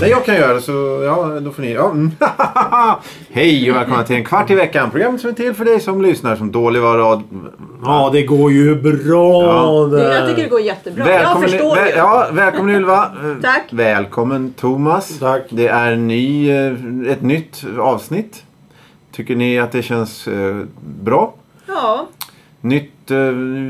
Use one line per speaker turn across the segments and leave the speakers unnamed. Nej, jag kan göra det så ja, då får ni... Ja. mm. Hej och välkomna till en kvart i veckan. Programmet som är till för dig som lyssnar som dålig var rad...
Ja, det går ju bra
Ja.
där.
Jag tycker det går jättebra.
Välkommen-
jag förstår
vä-
ju.
ja, välkommen Ylva. Eh,
Tack.
Välkommen Thomas.
Tack.
Det är ny, eh, ett nytt avsnitt. Tycker ni att det känns eh, bra?
Ja.
Nytt, eh,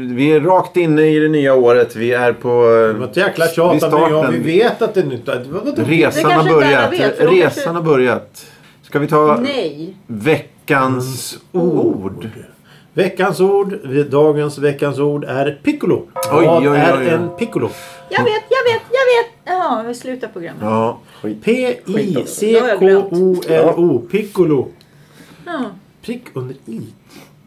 vi är rakt inne i det nya året. Vi är på...
Det
eh,
var ett jäkla
vid
tjat av mig. Ja, vi
starten.
vet att det är nytt. Vadå?
Det
Resan
kanske
har
inte alla
börjat.
vet, för de kanske-
Resan har börjat. Ska vi ta
Nej.
veckans
Mm.
ord?
Veckans ord, dagens veckans ord är piccolo.
Oj,
Vad
oj, oj,
är
oj.
en piccolo?
Jag vet, jag vet, jag vet. Ja, vi slutar programmet.
Ja,
P-I-C-K-O-L-O. Piccolo.
Ja.
Prick under i.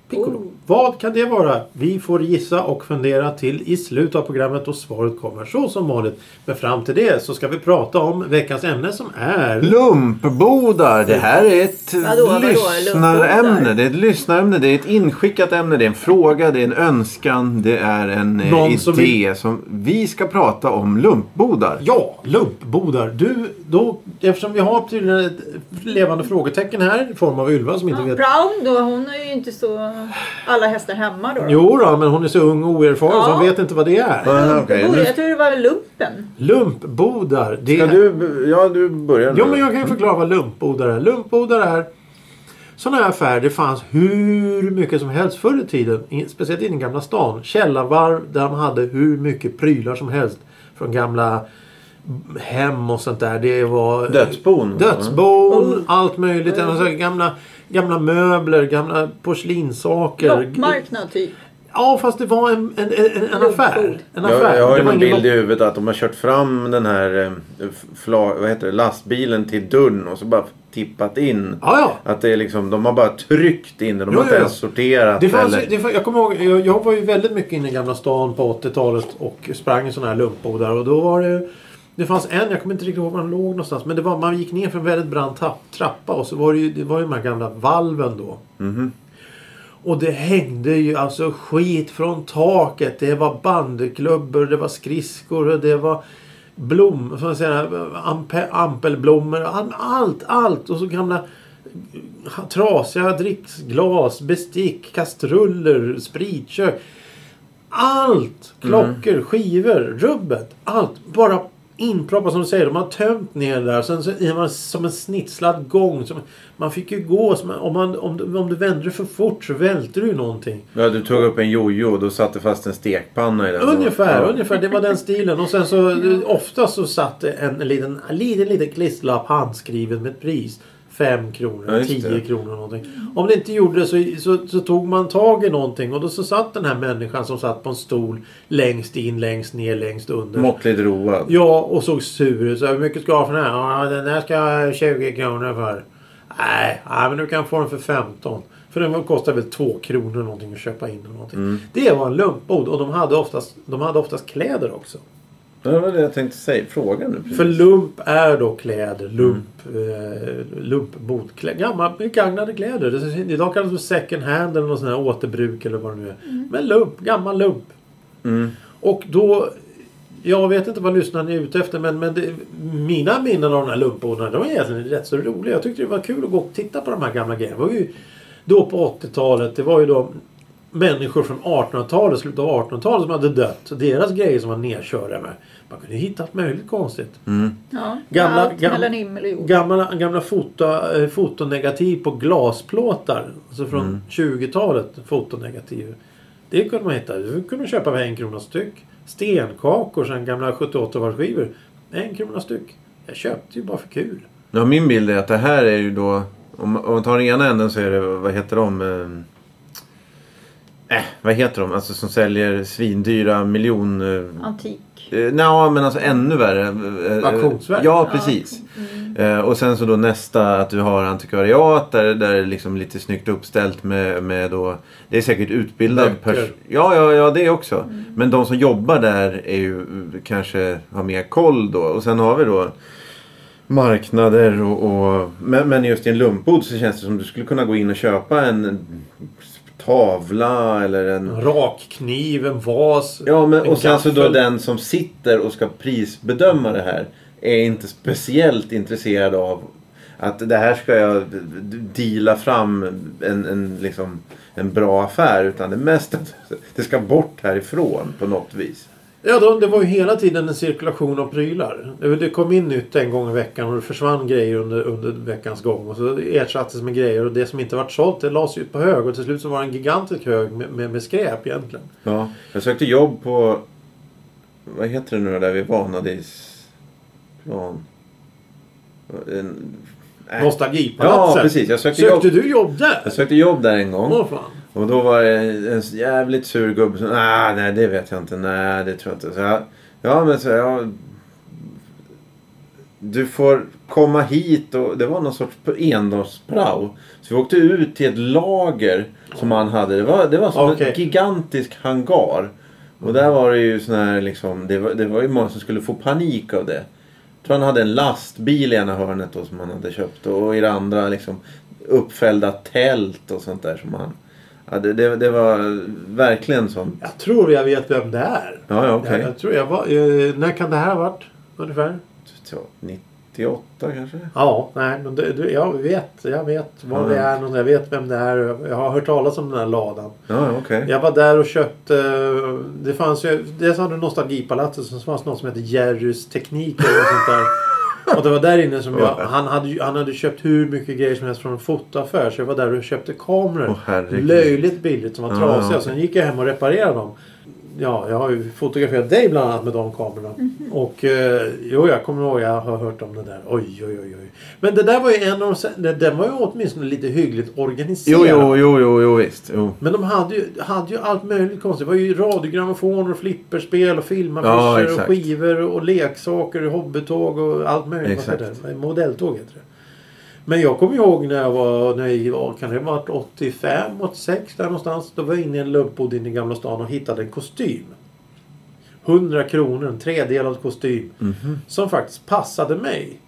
Piccolo.
Oh.
Vad kan det vara? Vi får gissa och fundera till i slutet av programmet och svaret kommer så som vanligt. Men fram till det så ska vi prata om veckans ämne som är...
Lumpbodar. Det här är ett
Vadå, vadå,
lyssnarämne.
lumpbodar?
Det är ett lyssnarämne. Det är ett inskickat ämne. Det är en fråga. Det är en önskan. Det är en eh,
Någon
idé
som
som vi... ska prata om lumpbodar.
Ja, lumpbodar. Du, då, eftersom vi har tydligen ett levande frågetecken här i form av Ylva som inte
Ja,
vet...
Brown då, hon har ju inte så alla hästar hemma då.
Jo då, men hon är så ung och oerfaren så hon
Ja.
vet inte vad det är.
Ah,
Det
okej.
borde-
Nu
Jag tror det var lumpen.
Lumpbodar. Det
Ska
är...
du, ja, du börjar nu.
Jo, men jag kan ju förklara vad lumpbodar är. Lumpbodar är sådana här affärer. Det fanns hur mycket som helst förr i tiden. i- Speciellt i den gamla stan. Källarvarv där de hade hur mycket prylar som helst. Från gamla hem och sånt där. Det var...
Dödsbon.
Dödsbon, allt möjligt. Alltså, gamla, gamla möbler, gamla porslinssaker.
Loppmarknad typ.
Ja, fast det var en, en, en, en affär. En affär.
Jag, jag har
Det
ju
var
en
ingen
bild i huvudet att de har kört fram den här eh, fla, vad heter det, lastbilen till dörren och så bara tippat in.
Ja, ja.
Att det är liksom, de har bara tryckt in det. De
Jo,
har inte
jo,
ens
jo.
sorterat.
Det fanns,
eller-
ju- det fanns, jag kommer ihåg, jag, jag var ju väldigt mycket inne i Gamla stan på 80-talet och sprang i sådana här lumpbodar och då var det det fanns en, jag kommer inte riktigt ihåg var den låg någonstans, men det var, man gick ner för en väldigt brant tapp, trappa och så var det ju, det var ju de här gamla valven då. Och det hängde ju alltså skit från taket. Det var bandyklubbor, det var skridskor och det var blom, så att säga, ampe, ampelblommor. all- Allt, allt. Och så gamla trasiga dricksglas, bestick, kastruller, spritkök. Allt! Klockor, skivor, rubbet. Allt. Bara inproppat som du säger. De har tömt ner det där. Sen så är man som en snitslad gång. Som, man fick ju gå. Som, om, man, om, du, om du vänder dig för fort så välter du ju någonting.
Ja, du tog upp en jojo och då satte fast en stekpanna i den.
Ungefär,
alltså. ja.
ungefär. Det var den stilen. Och sen så oftast så satt det en liten, en liten, liten klisterlapp handskriven med ett pris. 5
Ja,
kronor,
just
10
det.
kronor någonting. Om det inte gjorde det så, så, så tog man tag i någonting och då så satt den här människan som satt på en stol längst in, längst ner, längst under.
Måttligt road.
Ja, och såg sur ut. Så här, Hur mycket ska jag ha för den här? Ja, den här ska jag ha 20 kronor för. Nej, nej, men du kan få den för 15. För den kostar väl 2 kronor någonting att köpa in. Eller någonting. Det var en lumpbod och de hade, oftast, de hade oftast kläder också.
Det var det jag tänkte säga. Fråga nu. precis.
För lump är då kläder. Lump, eh, lumpbod. Klä, gamla begagnade kläder. Det, idag kallas det för second hand eller någon sån här återbruk eller vad det nu är. Men lump, gammal lump. Och då... Jag vet inte vad lyssnarna är ute efter men, men det, mina minnen av de här lumpbodena de var egentligen rätt så roliga. Jag tyckte det var kul att gå och titta på de här gamla grejerna. Det var ju då på 80-talet. Det var ju då människor från 1800-talet, slutet av 1800-talet som hade dött. Och deras grejer som var nedkörda med. Man kunde hitta allt möjligt konstigt.
Ja.
Gamla-
Allt
gam-
mellan himmel och jord.
Gamla, gamla foto, eh, fotonegativ på glasplåtar. Alltså från 20-talet. Fotonegativ. Det kunde man hitta. Det kunde man köpa för en krona styck. Stenkakor, sen gamla 78-valsskivor. En krona styck. Jag köpte ju bara för kul.
Ja, min bild är att det här är ju då... Om, om man tar den ena änden så är det... Vad heter de? Eh, eh, vad heter de? Alltså som säljer svindyra miljon... Eh,
Antik.
Eh, Nej, men alltså ännu värre. Eh, eh,
Auktionsverk.
Ja, precis. Eh, och sen så då nästa att du har antikvariat där, där det är liksom lite snyggt uppställt med, med då, det är säkert utbildad
Böcker.
person. Ja, ja, ja, det också. Men de som jobbar där är ju eh, kanske har mer koll då. Och sen har vi då marknader och, och men, men just i en lumpbod så känns det som du skulle kunna gå in och köpa en tavla eller en
En rakkniv, en vas.
Ja, men,
En
och sen så då
gaffel.
den som sitter och ska prisbedöma det här är inte speciellt intresserad av att det här ska jag d- d- deala fram en, en, liksom, en bra affär. Utan det mesta, det ska bort härifrån på något vis.
Ja, då, det var ju hela tiden en cirkulation av prylar. Det- Det kom in nytt en gång i veckan och det försvann grejer under, under veckans gång. Och så ersattes med grejer och det som inte vart sålt det lades ut på hög. Och till slut så var det en gigantisk hög med, med, med skräp egentligen.
Ja. Jag sökte jobb på, vad heter det nu där vi vanade i plan? En, äh. Ja,
Nostalgipalatset.
precis. Jag sökte,
Sökte
jobb,
du jobb där?
jag sökte jobb där en gång.
Åh fan.
Och då var det en jävligt sur gubbe som nah, nej det vet jag inte, nej det tror jag inte. Så jag, ja men så jag, Du får komma hit och det var någon sorts endagsprao. Så vi åkte ut till ett lager som han hade. Det var, det var som en
Okej.
gigantisk hangar. Och där var det ju sån här liksom, det var, det var ju många som skulle få panik av det. Jag tror han hade en lastbil i ena hörnet då som han hade köpt och i det andra liksom uppfällda tält och sånt där som han... Ja, det, det, det var verkligen sånt.
Jag tror jag vet vem det är.
Ja, ja okej.
Jag, jag tror jag var, eh, när kan det här ha varit? Ungefär?
Så, 98 kanske?
Ja, nej, men det, det, jag vet. Jag vet vad
Ja.
det är. och Jag vet vem det är. Jag har hört talas om den här ladan.
Ja, ja, okej.
Jag var där och köpte... eh, Det fanns ju... Dels hade du Nostalgipalatset. Sen fanns det något som hette Jerrys Teknik eller något sånt där. Och det var där inne som jag... Han hade, ju- han hade köpt hur mycket grejer som helst från en fotoaffär. Så jag var där och köpte kameror.
Åh, herregud.
löjligt billigt som var
Ja,
trasiga.
ja.
Sen gick jag hem och reparerade dem. Ja, jag har ju fotograferat dig bland annat med de kamerorna. Och eh, jo, jag kommer ihåg, jag har hört om det där. Oj, oj, oj. oj. Men det där var ju en av de... Den var ju åtminstone lite hyggligt organiserad.
Jo, jo, jo, jo, jo, visst. Jo.
Men de hade ju, hade ju allt möjligt konstigt. Det var ju radiogrammofoner och flipperspel och
Ja,
filmaffischer
exakt.
och skivor och leksaker och hobbytåg och allt möjligt. Vad heter
Exakt.
det? Modelltåg heter det. Men jag kommer ihåg när jag var, när jag, var- kan det ha varit 85, 86 där någonstans. Då var jag inne i en lumpbod inne i Gamla stan och hittade en kostym. 100 kronor, en tredelad kostym.
Mhm.
Som faktiskt passade mig.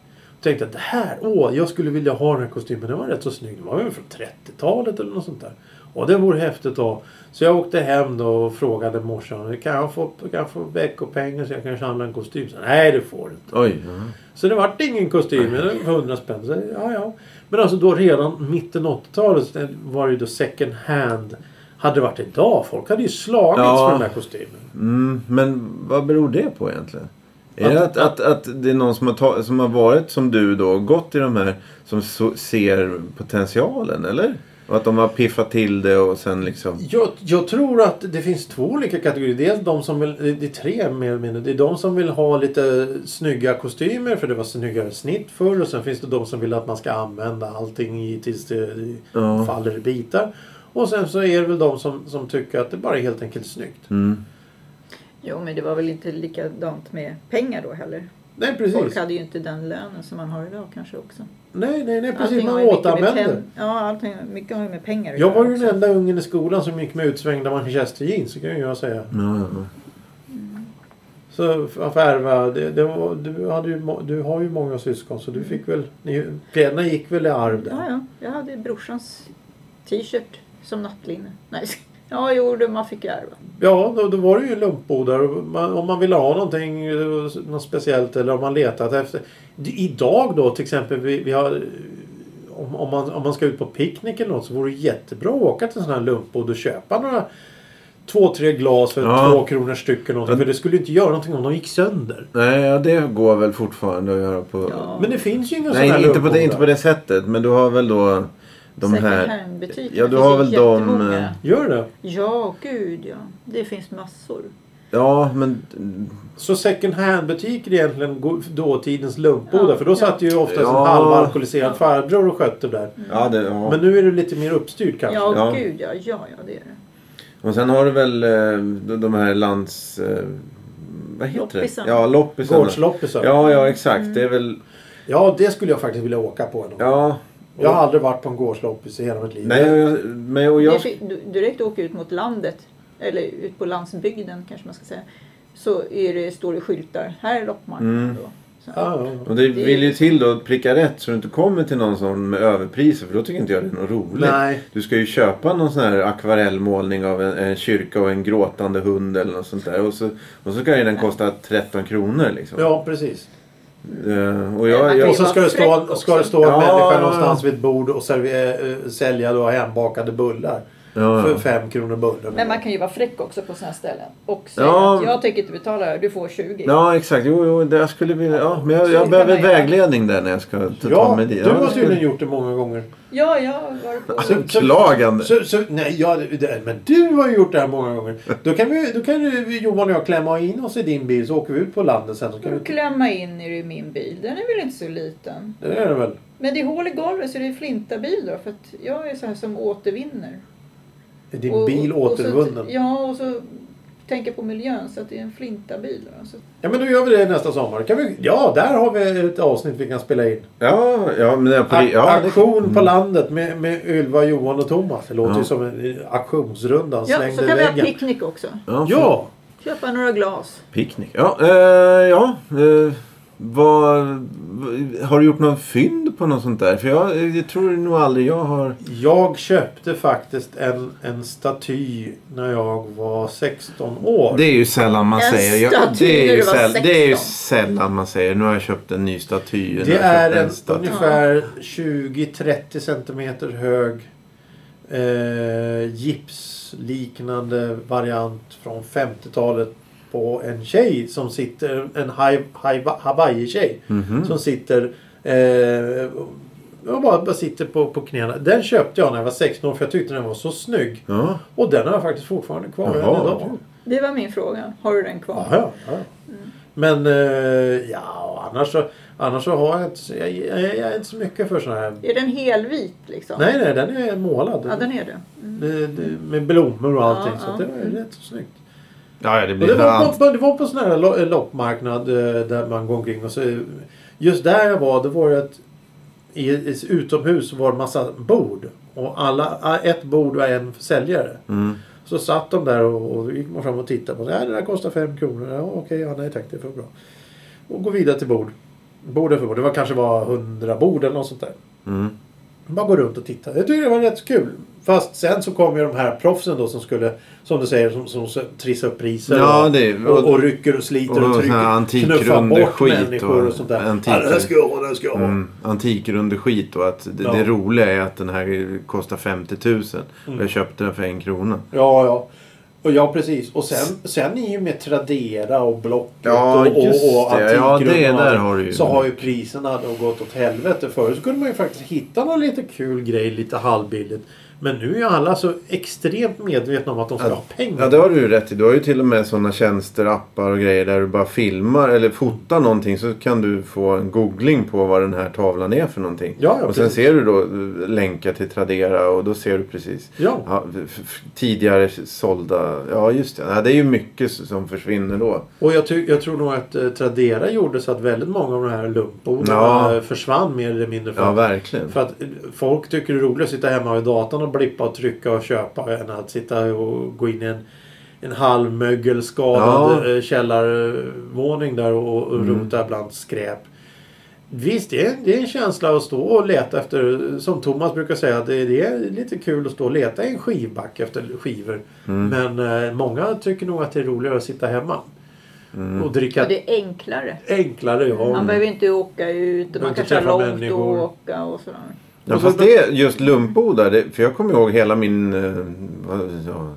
Tänkte att det här, åh, jag skulle vilja ha den här kostymen. Den var rätt så snygg. Den var väl från 30-talet eller något sånt där. Och det vore häftigt då. Så jag åkte hem då och frågade morsan. Kan jag få, kan jag få veckopengar så jag kan handla en kostym? Så, Nej, det får du inte.
Oj. Ja.
Så det vart ingen kostym. Det var 100 spänn. Så, ja, ja. Men alltså då redan mitten av 80-talet så var det ju då second hand. Hade det varit idag, folk hade ju slagits
Ja.
för den där kostymen.
Mm, men vad beror det på egentligen? Är det att, att, att det är någon som har, ta, som har varit som du då, gått i de här, som så, ser potentialen eller? Och att de har piffat till det och sen liksom...
Jag, jag tror att det finns två olika kategorier. Dels de som vill, det är tre mer eller mindre. Det är de som vill ha lite snygga kostymer för det var snyggare snitt förr. Och sen finns det de som vill att man ska använda allting i, tills det
Ja.
faller i bitar. Och sen så är det väl de som, som tycker att det bara är helt enkelt snyggt.
Mm.
Jo, men det var väl inte likadant med pengar då heller.
Nej precis.
Folk hade ju inte den lönen som man har idag kanske också.
Nej, nej, nej precis.
Allting har
Man
ju mycket med
återanvänder.
pen- Ja, allting, mycket har ju med pengar att
Jag
göra
var ju
också.
den enda ungen i skolan som gick med utsvängda manchester jeans. Så kan ju jag säga.
Ja, ja, ja.
Så att ärva, det, det var, du, hade ju, må- du har ju många syskon så du fick väl, ni, kläderna gick väl i arv
Ja,
där?
ja. Jag hade brorsans t-shirt som nattlinne. Nej, ja, jo, det man fick ju ärva.
Ja, då, då var det ju lumpbodar och man, om man ville ha någonting, eh, något speciellt eller om man letat efter. D- Idag då till exempel, vi, vi har, eh, om, om, man, om man ska ut på picknick eller något så vore det jättebra att åka till en sån här lumpbod och köpa några två, tre glas för
Ja.
två kronor styck eller någonting. För det skulle ju inte göra någonting om de gick sönder.
Nej, ja, det går väl fortfarande att göra på...
Ja.
Men det finns ju inga såna
Nej,
här
inte på, det,
lumpbodar.
inte på det sättet. Men du har väl då de här...
Second
Ja, du har väl de, eh,
Gör det?
Ja, gud ja. Det finns massor. Mm.
Ja, men...
Så second hand-butiker är egentligen go- dåtidens lumpbodar.
Ja,
för då satt ju oftast
Ja.
en halvalkoholiserad farbror och skötte där.
Ja, det, ja.
Men nu är det lite mer uppstyrt kanske.
Ja,
Ja.
gud ja. Ja, ja, det är det.
Och sen har du väl eh, de- de här lands... eh, Vad heter
Loppisarna.
det? Ja, loppisarna.
Gårdsloppisen.
Mm. Ja, ja exakt. Det är väl...
Ja, det skulle jag faktiskt vilja åka på. Ändå.
Ja.
Jag har aldrig varit på en gårdsloppis i hela mitt liv.
Nej, jag- men och jag...
Jag... Du, direkt åker ut mot landet, eller ut på landsbygden kanske man ska säga, så är det, står det skyltar. Här är loppmarknaden
Mm.
då. Så,
Ja, ja.
Och det vill ju till då att pricka rätt så du inte kommer till någon sån med överpriser för då tycker inte jag det är något roligt.
Nej.
Du ska ju köpa någon sån här akvarellmålning av en, en kyrka och en gråtande hund eller något sånt där. Och så, och så ska ju den kosta 13 kronor liksom.
ja, precis.
Eh, och jag,
Det
Och
jag,
så
var
ska det
fräckt
stå,
också.
ska det stå en
Ja,
människa
ja, ja.
någonstans vid ett bord och serve, eh, sälja då hembakade bullar.
Ja,
För
ja.
fem kronor bullen.
Men man kan ju vara fräck också på sådana ställen. Och säga
Ja.
att jag tänker inte betala det här, du får 20.
ja exakt, jo, jo det jag skulle vilja, ja, men jag,
Så
jag
det
behöver
kan man göra.
vägledning där när jag ska ta
Ja,
mig dit.
du har
jag skulle-
tydligen gjort det många gånger.
Ja, jag var på.
Alltså, Klagande.
Så, så, nej, ja, det, men du har ju gjort det här många gånger. Då kan, vi, då kan ju Johan och jag klämma in oss i din bil så åker vi ut på landet sen. Så kan
Och
vi,
klämma in er i min bil. Den är väl inte så liten.
det är det väl?
Men det är hål i golvet så det är flinta bil då. För att jag är så här som återvinner.
Är Din
Och-
bil
och, och
återvunnen.
Så, ja, och så tänker jag på miljön så att det är en flinta bil. Då. Så,
Ja men då gör vi det nästa sommar. Kan vi, ja, där har vi ett avsnitt vi kan spela in.
Ja, ja, men jag, på,
A-
ja, det- Mm.
aktion på landet med, med Ylva, Johan och Thomas. Det låter
Ja.
ju som en eh, auktionsrunda. Han
ja,
slängde
så kan vi ha
väggen.
picknick också.
ja,
Ja!
Köpa några glas.
Picknick. Ja, eh, ja. Eh, vad, har du gjort någon fynd på något sånt där? För jag, jag tror nog aldrig jag har...
Jag köpte faktiskt en, en staty när jag var 16 år.
Det är ju sällan man
En
säger. Jag,
staty
det, är
när
ju
du var
säll, det är ju
16.
sällan man säger. Nu har jag köpt en ny staty. nu
Det
har jag
är
köpt
en
staty.
ungefär 20-30 centimeter hög eh, gipsliknande variant från 50-talet på en tjej som sitter, en hai- hai- hawaii-tjej
Mhm.
som sitter eh, och bara, bara sitter på, på knäna. Den köpte jag när jag var 16 år för jag tyckte den var så snygg.
Ja.
Och den har jag faktiskt fortfarande kvar än
Jaha.
idag.
Det var min fråga. Har du den kvar?
Ja, ja. Men eh, ja, annars så, annars så har jag inte, så- jag, jag, jag är inte så mycket för sådana här.
Är den helvit liksom?
Nej, nej, den är målad.
Ja, den är det. Mm.
Det- det- Med blommor och allting.
Ja,
så
ja.
det var ju rätt så snyggt.
Ja, ja, det
Och
blir
det, var
allt.
på, det var på sån här lo- loppmarknad eh, där man går omkring och så Just där jag var, det var det att i, i, utomhus var det massa bord. Och alla, ett bord och en säljare.
Mm.
Så satt de där och, och gick man fram och tittade på. Nej, det där kostar fem kronor. Ja, okej, ja, nej tack, det är för bra. Och gå vidare till bord. Bord för bord. Det var kanske var hundra bord eller något sånt där.
Mm.
Bara gå runt och titta. Jag tyckte det var rätt kul. Fast sen så kom ju de här proffsen då som skulle, som du säger, som, som trissar upp priser.
Ja,
och,
det är-
och, och rycker och
och
sliter och,
sån här
trycker.
antikrunde
Knuffar bort
skit
människor
och
och, sånt där.
antik-
Ja, det här ska jag ha, det här ska jag ha.
Mm. Antikrund och skit och att det,
Ja. Mm.
det roliga är att den här kostar 50 000 och jag köpte den för en krona.
Ja, ja. Och ja, precis. Och sen, sen är ju med Tradera och Blocket
Ja,
och, och,
just det.
och Antikrundan
Ja, det
och
där
allt,
har du ju.
Så har ju priserna då gått åt helvete. Förut så kunde man ju faktiskt hitta någon lite kul grej lite halvbilligt. Men nu är ju alla så extremt medvetna om att de ska
Ja.
ha pengar.
Ja, det har du ju rätt i. Du har ju till och med sådana tjänster, appar och grejer där du bara filmar eller fotar någonting så kan du få en googling på vad den här tavlan är för någonting.
Ja, ja,
och sen
precis.
ser du då eh, länkar till Tradera och då ser du precis
Ja.
f- f- tidigare sålda. Ja, just det. Ja, det är ju mycket s- som försvinner då.
Och jag, ty- jag tror nog att eh, Tradera gjorde så att väldigt många av de här lumpoderna
Ja.
eh, försvann mer eller mindre. För,
Ja,
att-
verkligen.
för att eh, folk tycker det är roligt att sitta hemma vid datorn och blippa och trycka och köpa än att sitta och gå in i en, en halvmögelskadad
Ja.
ja. källarvåning där och, och rota bland skräp. Visst, det är, det är en känsla att stå och leta efter, som Thomas brukar säga, att det, det är lite kul att stå och leta i en skivback efter skivor. Men eh, många tycker nog att det är roligare att sitta hemma. Och dricka
Och det är enklare.
enklare, ja.
Man behöver inte åka ut och
Behöver
man
inte
kan köra
träffa
långt
människor.
och åka och sådär.
Ja, fast det är just lumpodar. Det, för jag kommer ihåg hela min eh, vad- ja,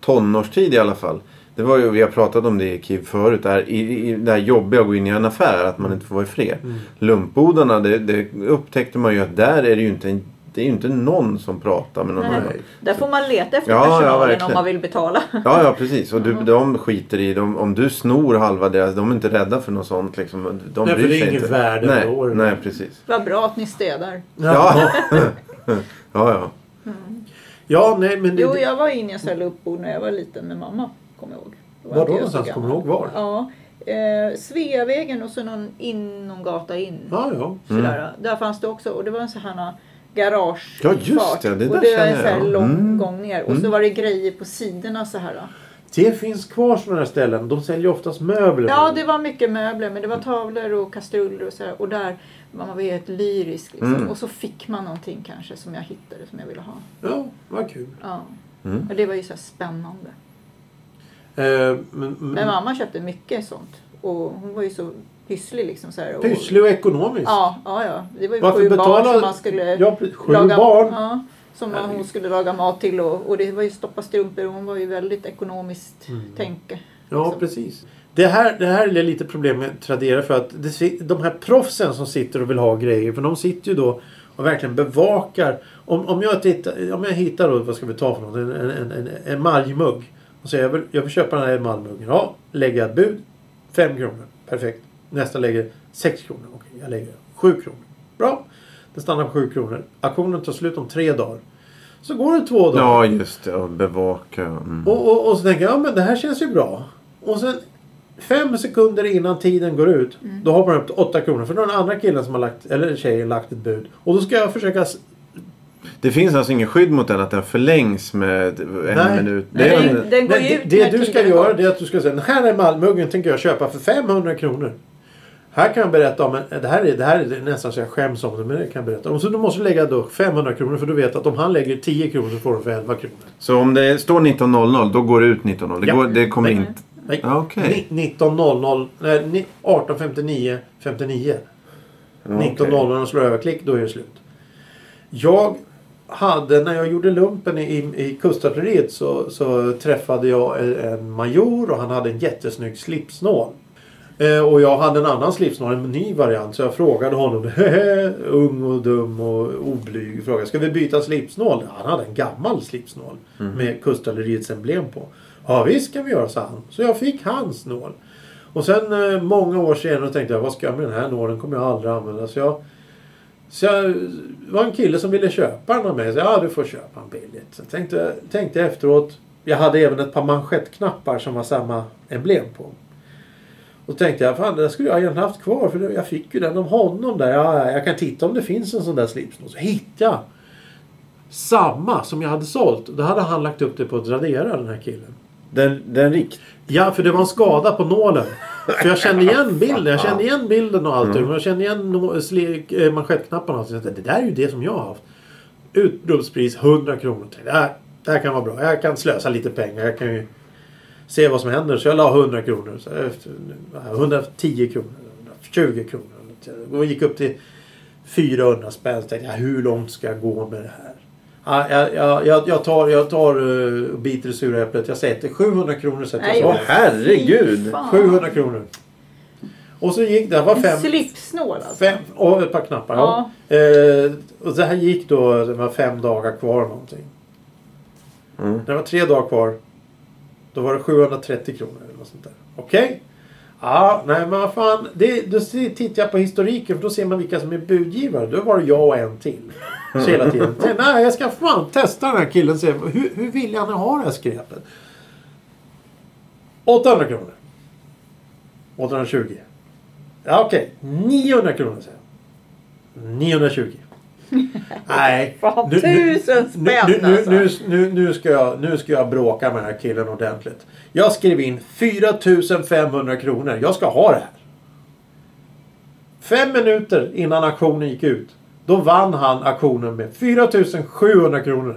tonårstid i alla fall. Det var ju, vi har pratat om det i Kiev förut. Det här, i, i, det här jobbiga att gå in i en affär. Att man inte får vara i fred.
Mm.
Lumpbodarna, det, det upptäckte man ju att där är det ju inte, en, det är ju inte någon som pratar med någon.
Nej.
annan.
Där får man leta efter
Ja, ja,
personalen
verkligen.
om man vill betala.
Ja, ja precis. Och du, de skiter i, de, om du snor halva deras, de är inte rädda för något sånt. Liksom. De
Nej, för
bryr
det är
sig
ingen
inte.
värde då.
nej, nej, precis.
Vad bra att ni städar.
Ja, ja. ja.
Ja, nej men...
Jo, jag var inne i en sån här luppbord när jag var liten med mamma. Kommer jag ihåg. Då
Var då
inte jag så
Alltså,
någonstans?
gammal.
Kommer du ihåg var?
Ja, Eh, Sveavägen och så någon, in, någon gata in.
Ja, ja.
Sådär. Där fanns det också och det var en sån här garage
Mm. Ja, just det. Det
och
där
det var
känner
en sån här
jag.
lång
Mm.
gång ner. Och så
Mm.
var det grejer på sidorna så här.
Det finns kvar sådana här ställen. De säljer oftast möbler.
Ja, det var mycket möbler men det var tavlor och kastruller och så här. Och där man var helt lyrisk. Liksom.
Mm.
Och så fick man någonting kanske som jag hittade som jag ville ha.
ja vad kul.
Ja.
Mm.
Och det var ju så här spännande.
Eh, men, men,
Men mamma köpte mycket sånt. Och hon var ju så pysslig liksom. Så här. Och,
pysslig och ekonomisk.
Ja, ja, ja. Det var ju
Varför
sju barn
betala-
som man skulle
Ja, pre- sju
laga,
barn.
Ja, som man, hon skulle laga mat till och, och det var ju stoppa strumpor. och Hon var ju väldigt ekonomiskt
Mm.
tänke.
Ja, precis. Det här, det här är lite problem med Tradera för att det, si- de här proffsen som sitter och vill ha grejer för de sitter ju då och verkligen bevakar. Om, om, jag, tittar, om jag hittar då, vad ska vi ta för något, en, en, en, en emaljmugg. Och säger jag vill, jag vill köpa den här emaljmuggen. Ja, lägger jag ett bud. 5 kronor. Perfekt. Nästa lägger 6 kronor. Okej, jag lägger 7 kronor. Bra. Den stannar på 7 kronor. Auktionen tar slut om tre dagar. Så går det två dagar.
Ja, just det. Och bevaka. Mm.
Och, och, och så tänker jag, ja men det här känns ju bra. Och sen fem sekunder innan tiden går ut,
Mm.
då hoppar den upp till 8 kronor. För då är den andra killen som har lagt, eller tjejen, lagt ett bud. Och då ska jag försöka... s-
Det finns alltså ingen skydd mot den att den förlängs med en
Nej.
minut.
Nej,
är
den- den går ju
det
ut när
det du ska
tiden
göra
går.
det är att du ska säga, den här emalmuggen tänker jag köpa för 500 kronor. Här kan jag berätta om, en- det här är, det här är nästan så jag skäms om det, men det kan jag berätta om. Så du måste lägga då 500 kronor för du vet att om han lägger 10 kronor så får du för 11 kronor.
Så om det står 19.00 då går det ut 19.00. Det,
Ja.
går, det kommer
Nej.
inte...
Nej,
Ah, okej.
Ni- 19.00, nej, ni- 18.59, 59.
Ja, okej.
19.00 och slår över klick, då är det slut. Jag hade, när jag gjorde lumpen i, i kustartilleriet så, så träffade jag en- en major och han hade en jättesnygg slipsnål. Eh, och jag hade en annan slipsnål, en ny variant, så jag frågade honom, ung och dum och oblyg, frågade ska vi byta slipsnål? Han hade en gammal slipsnål
Mhm.
med kustalleriets emblem på. Ja visst kan vi göra, sa han. Så jag fick hans nål. Och sen eh, många år senare tänkte jag, vad ska jag med den här nålen? kommer jag aldrig använda. Så jag så jag, det var en kille som ville köpa den av mig. Så jag, ja, du får köpa den billigt. Så jag tänkte, tänkte efteråt. Jag hade även ett par manschettknappar som var samma emblem på. Och tänkte jag, fan den skulle jag egentligen haft kvar. För jag fick ju den av honom där. Ja, jag kan titta om det finns en sån där slipsnål. Så hittade jag samma som jag hade sålt. Då hade han lagt upp det på Tradera, den här killen.
Den, den rikt...
Ja, för det var en skada på nålen. För jag kände igen bilden. Jag kände igen bilden och allt. Mm. Jag kände igen nå- sle- eh, manschettknapparna. Och så tänkte jag, det där är ju det som jag har haft. Utropspris 100 kronor. Jag Tänkte, det, här, det här kan vara bra. Jag kan slösa lite pengar. Jag kan ju se vad som händer. Så jag la 100 kronor. Så efter, 110 kronor. 120 kronor. Och gick upp till 400 spänn. Så tänkte jag, hur långt ska jag gå med det här? Ja, jag, jag, jag, jag tar, jag tar eh, och biter i sura äpplet. Jag sätter 700 kronor. Sätter jag
Nej,
så.
Åh herregud!
Fan.
700 kronor. Och så gick det, här var
En
fem,
slipsnål alltså.
fem och ett par knappar. Ja. Eh, och det här gick då, det var fem dagar kvar någonting.
Mm.
När det var tre dagar kvar, då var det 730 kronor eller något sånt där. Okej? Ja, nej men vad fan. Det, då se- tittar jag på historiken för då ser man vilka som är budgivare. Då var det jag och en till. Så hela tiden. Så, nej, jag ska fan testa den här killen och se hur, hur vill han ha det här skräpet? 800 kronor. 820. Ja, okej. 900 kronor säger jag. 920. Nej.
Fan,
nu- nu-
tusen spänn,
nu, nu, nu,
alltså.
nu, nu, nu, ska jag, nu ska jag bråka med den här killen ordentligt. Jag skrev in 4500 kronor. Jag ska ha det här. Fem minuter innan auktionen gick ut. Då vann han auktionen med 4700 kronor.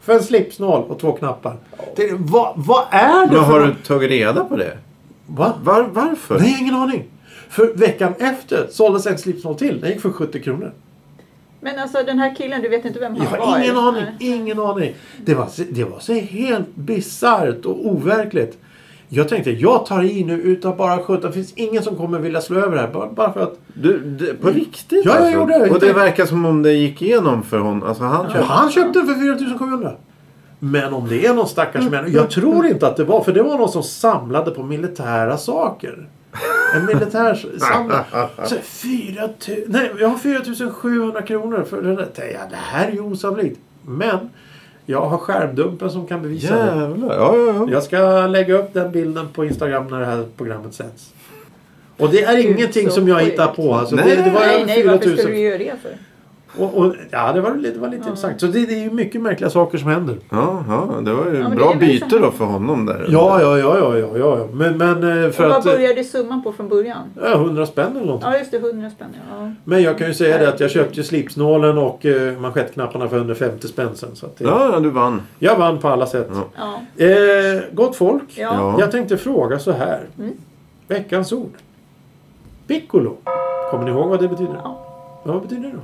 För en slipsnål och två knappar. Tänkte, Vad, vad är det
Men har
för...
du tagit reda på det?
Va?
Var, varför?
Nej, ingen aning. För veckan efter såldes en slipsnål till. Den gick för 70 kronor.
Men alltså den här killen, du vet inte vem han
Jag har
var?
ingen
eller?
aning.
Nej.
Ingen aning. Det var, så- det var så helt bisarrt och overkligt. Jag tänkte, jag tar i nu utav bara sjutton. Det finns ingen som kommer vilja slå över det här. Bara, bara för att...
Du, du, på
Mm.
riktigt
Ja, jag
alltså?
gjorde det.
Och det verkar som om det gick igenom för honom. Alltså han
Ja,
köpte...
han köpte den för 4700. Men om det är någon stackars
Mm.
människa. Jag tror inte att det var. För det var någon som samlade på militära saker. En militär samling. Så 4 000, nej, jag har 4700 kronor för den där. Ja, det här är ju osannolikt. Men jag har skärmdumpen som kan bevisa det.
Jävlar. Ja, ja, ja.
Jag ska lägga upp den bilden på Instagram när det här programmet sänds. Och det är
Gud,
ingenting
så
som jag
sjukt.
hittar på. Alltså,
Nej,
det, det var
nej,
över
nej, varför
4000.
skulle du göra det för?
Och, och, ja, det var, lite- det var lite intressant. Så det, det är ju mycket märkliga saker som händer.
Ja, ja, det var ju
Ja, men
bra
det är väl
byte
så.
då för honom där.
Ja, ja, ja, ja, ja, ja. ja. Men, men eh, för
Och vad
att... eh,
började summan på från början?
Ja, 100 spänn eller något.
Ja just det, 100 spänn. Ja.
Men jag kan ju säga det att jag köpte ju slipsnålen och eh, manschettknapparna för 150 spänn sen. Så att det,
Ja, ja, du vann.
Jag vann på alla sätt.
Ja.
Ja.
Eh, gott folk.
Ja.
Ja.
Jag tänkte fråga så här.
Mm.
Veckans ord. Piccolo. Kommer ni ihåg vad det betyder?
Ja.
Ja, vad betyder det då?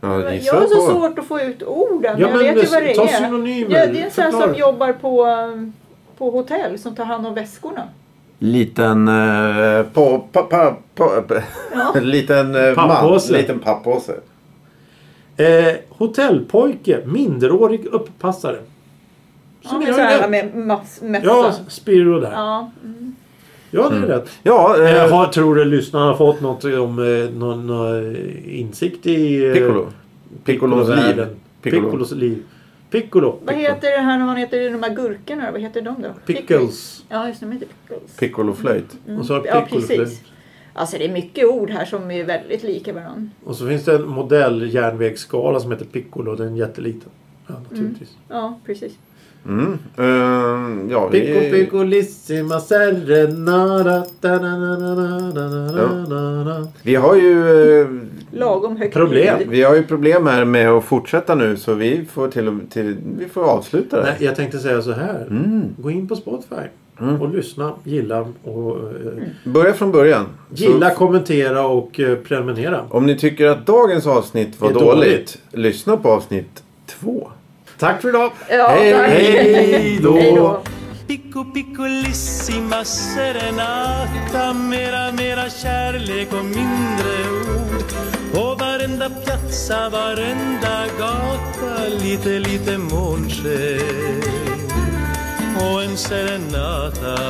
Ja,
Jag
gissa
har så
på.
svårt att få ut orden.
Ja,
jag
men
vet ju vad det
ta
är.
synonymer.
Ja, det är en sån här
Förklara.
som jobbar på, eh, på hotell som tar hand om väskorna.
Liten... Eh, på, pa, pa, pa,
Ja.
En liten eh,
Pappåse.
man. Liten pappåse.
Eh, hotellpojke. Minderårig upppassare.
Ja,
ni
men
har
så
ju
här
rätt.
med mass, mässan.
Ja,
Ja.
Spiro där. Ja,
Ja. Mm.
det är rätt.
Ja,
Eh,
eh,
har, tror du lyssnarna har fått något om eh, någon, någon eh, insikt i... Eh,
Piccolo. Piccolos liv.
Piccolovärlden. Piccolos liv. Piccolo.
Vad heter det här när man heter de här gurkorna? Vad heter de då?
Pickles.
Ja, just det. De heter pickles.
Piccoloflöjt.
Mm.
Och så har vi
ja,
pickles.
precis. Alltså det är mycket ord här som är väldigt lika varandra.
Och så finns det en modell järnvägsskala som heter Piccolo. Den är jätteliten.
Mm.
Ja, naturligtvis.
Ja, precis.
Mm. Eh, ja, vi-
Picco piccolissima serenada. da, na, na, na, na, na, na, na, na.
Vi har ju... eh,
Lagom högt
Problem.
ljud.
Vi har ju problem här med att fortsätta nu så vi får till, och- till Vi får avsluta det.
Nej,
här.
jag tänkte säga så här.
Mm.
Gå in på Spotify.
Mm.
Och lyssna, gilla och... Eh,
Börja från början.
gilla,
Så,
kommentera och eh, prenumerera.
om ni tycker att dagens avsnitt var
Det är
dåligt,
dåligt.
lyssna på avsnitt två.
Tack för idag!
Ja,
Hej,
tack.
hej då.
Hej då.
Picco piccolissima serenata Mera mera kärlek och mindre ord På varenda piazza, varenda gata Lite lite månsken och en serenata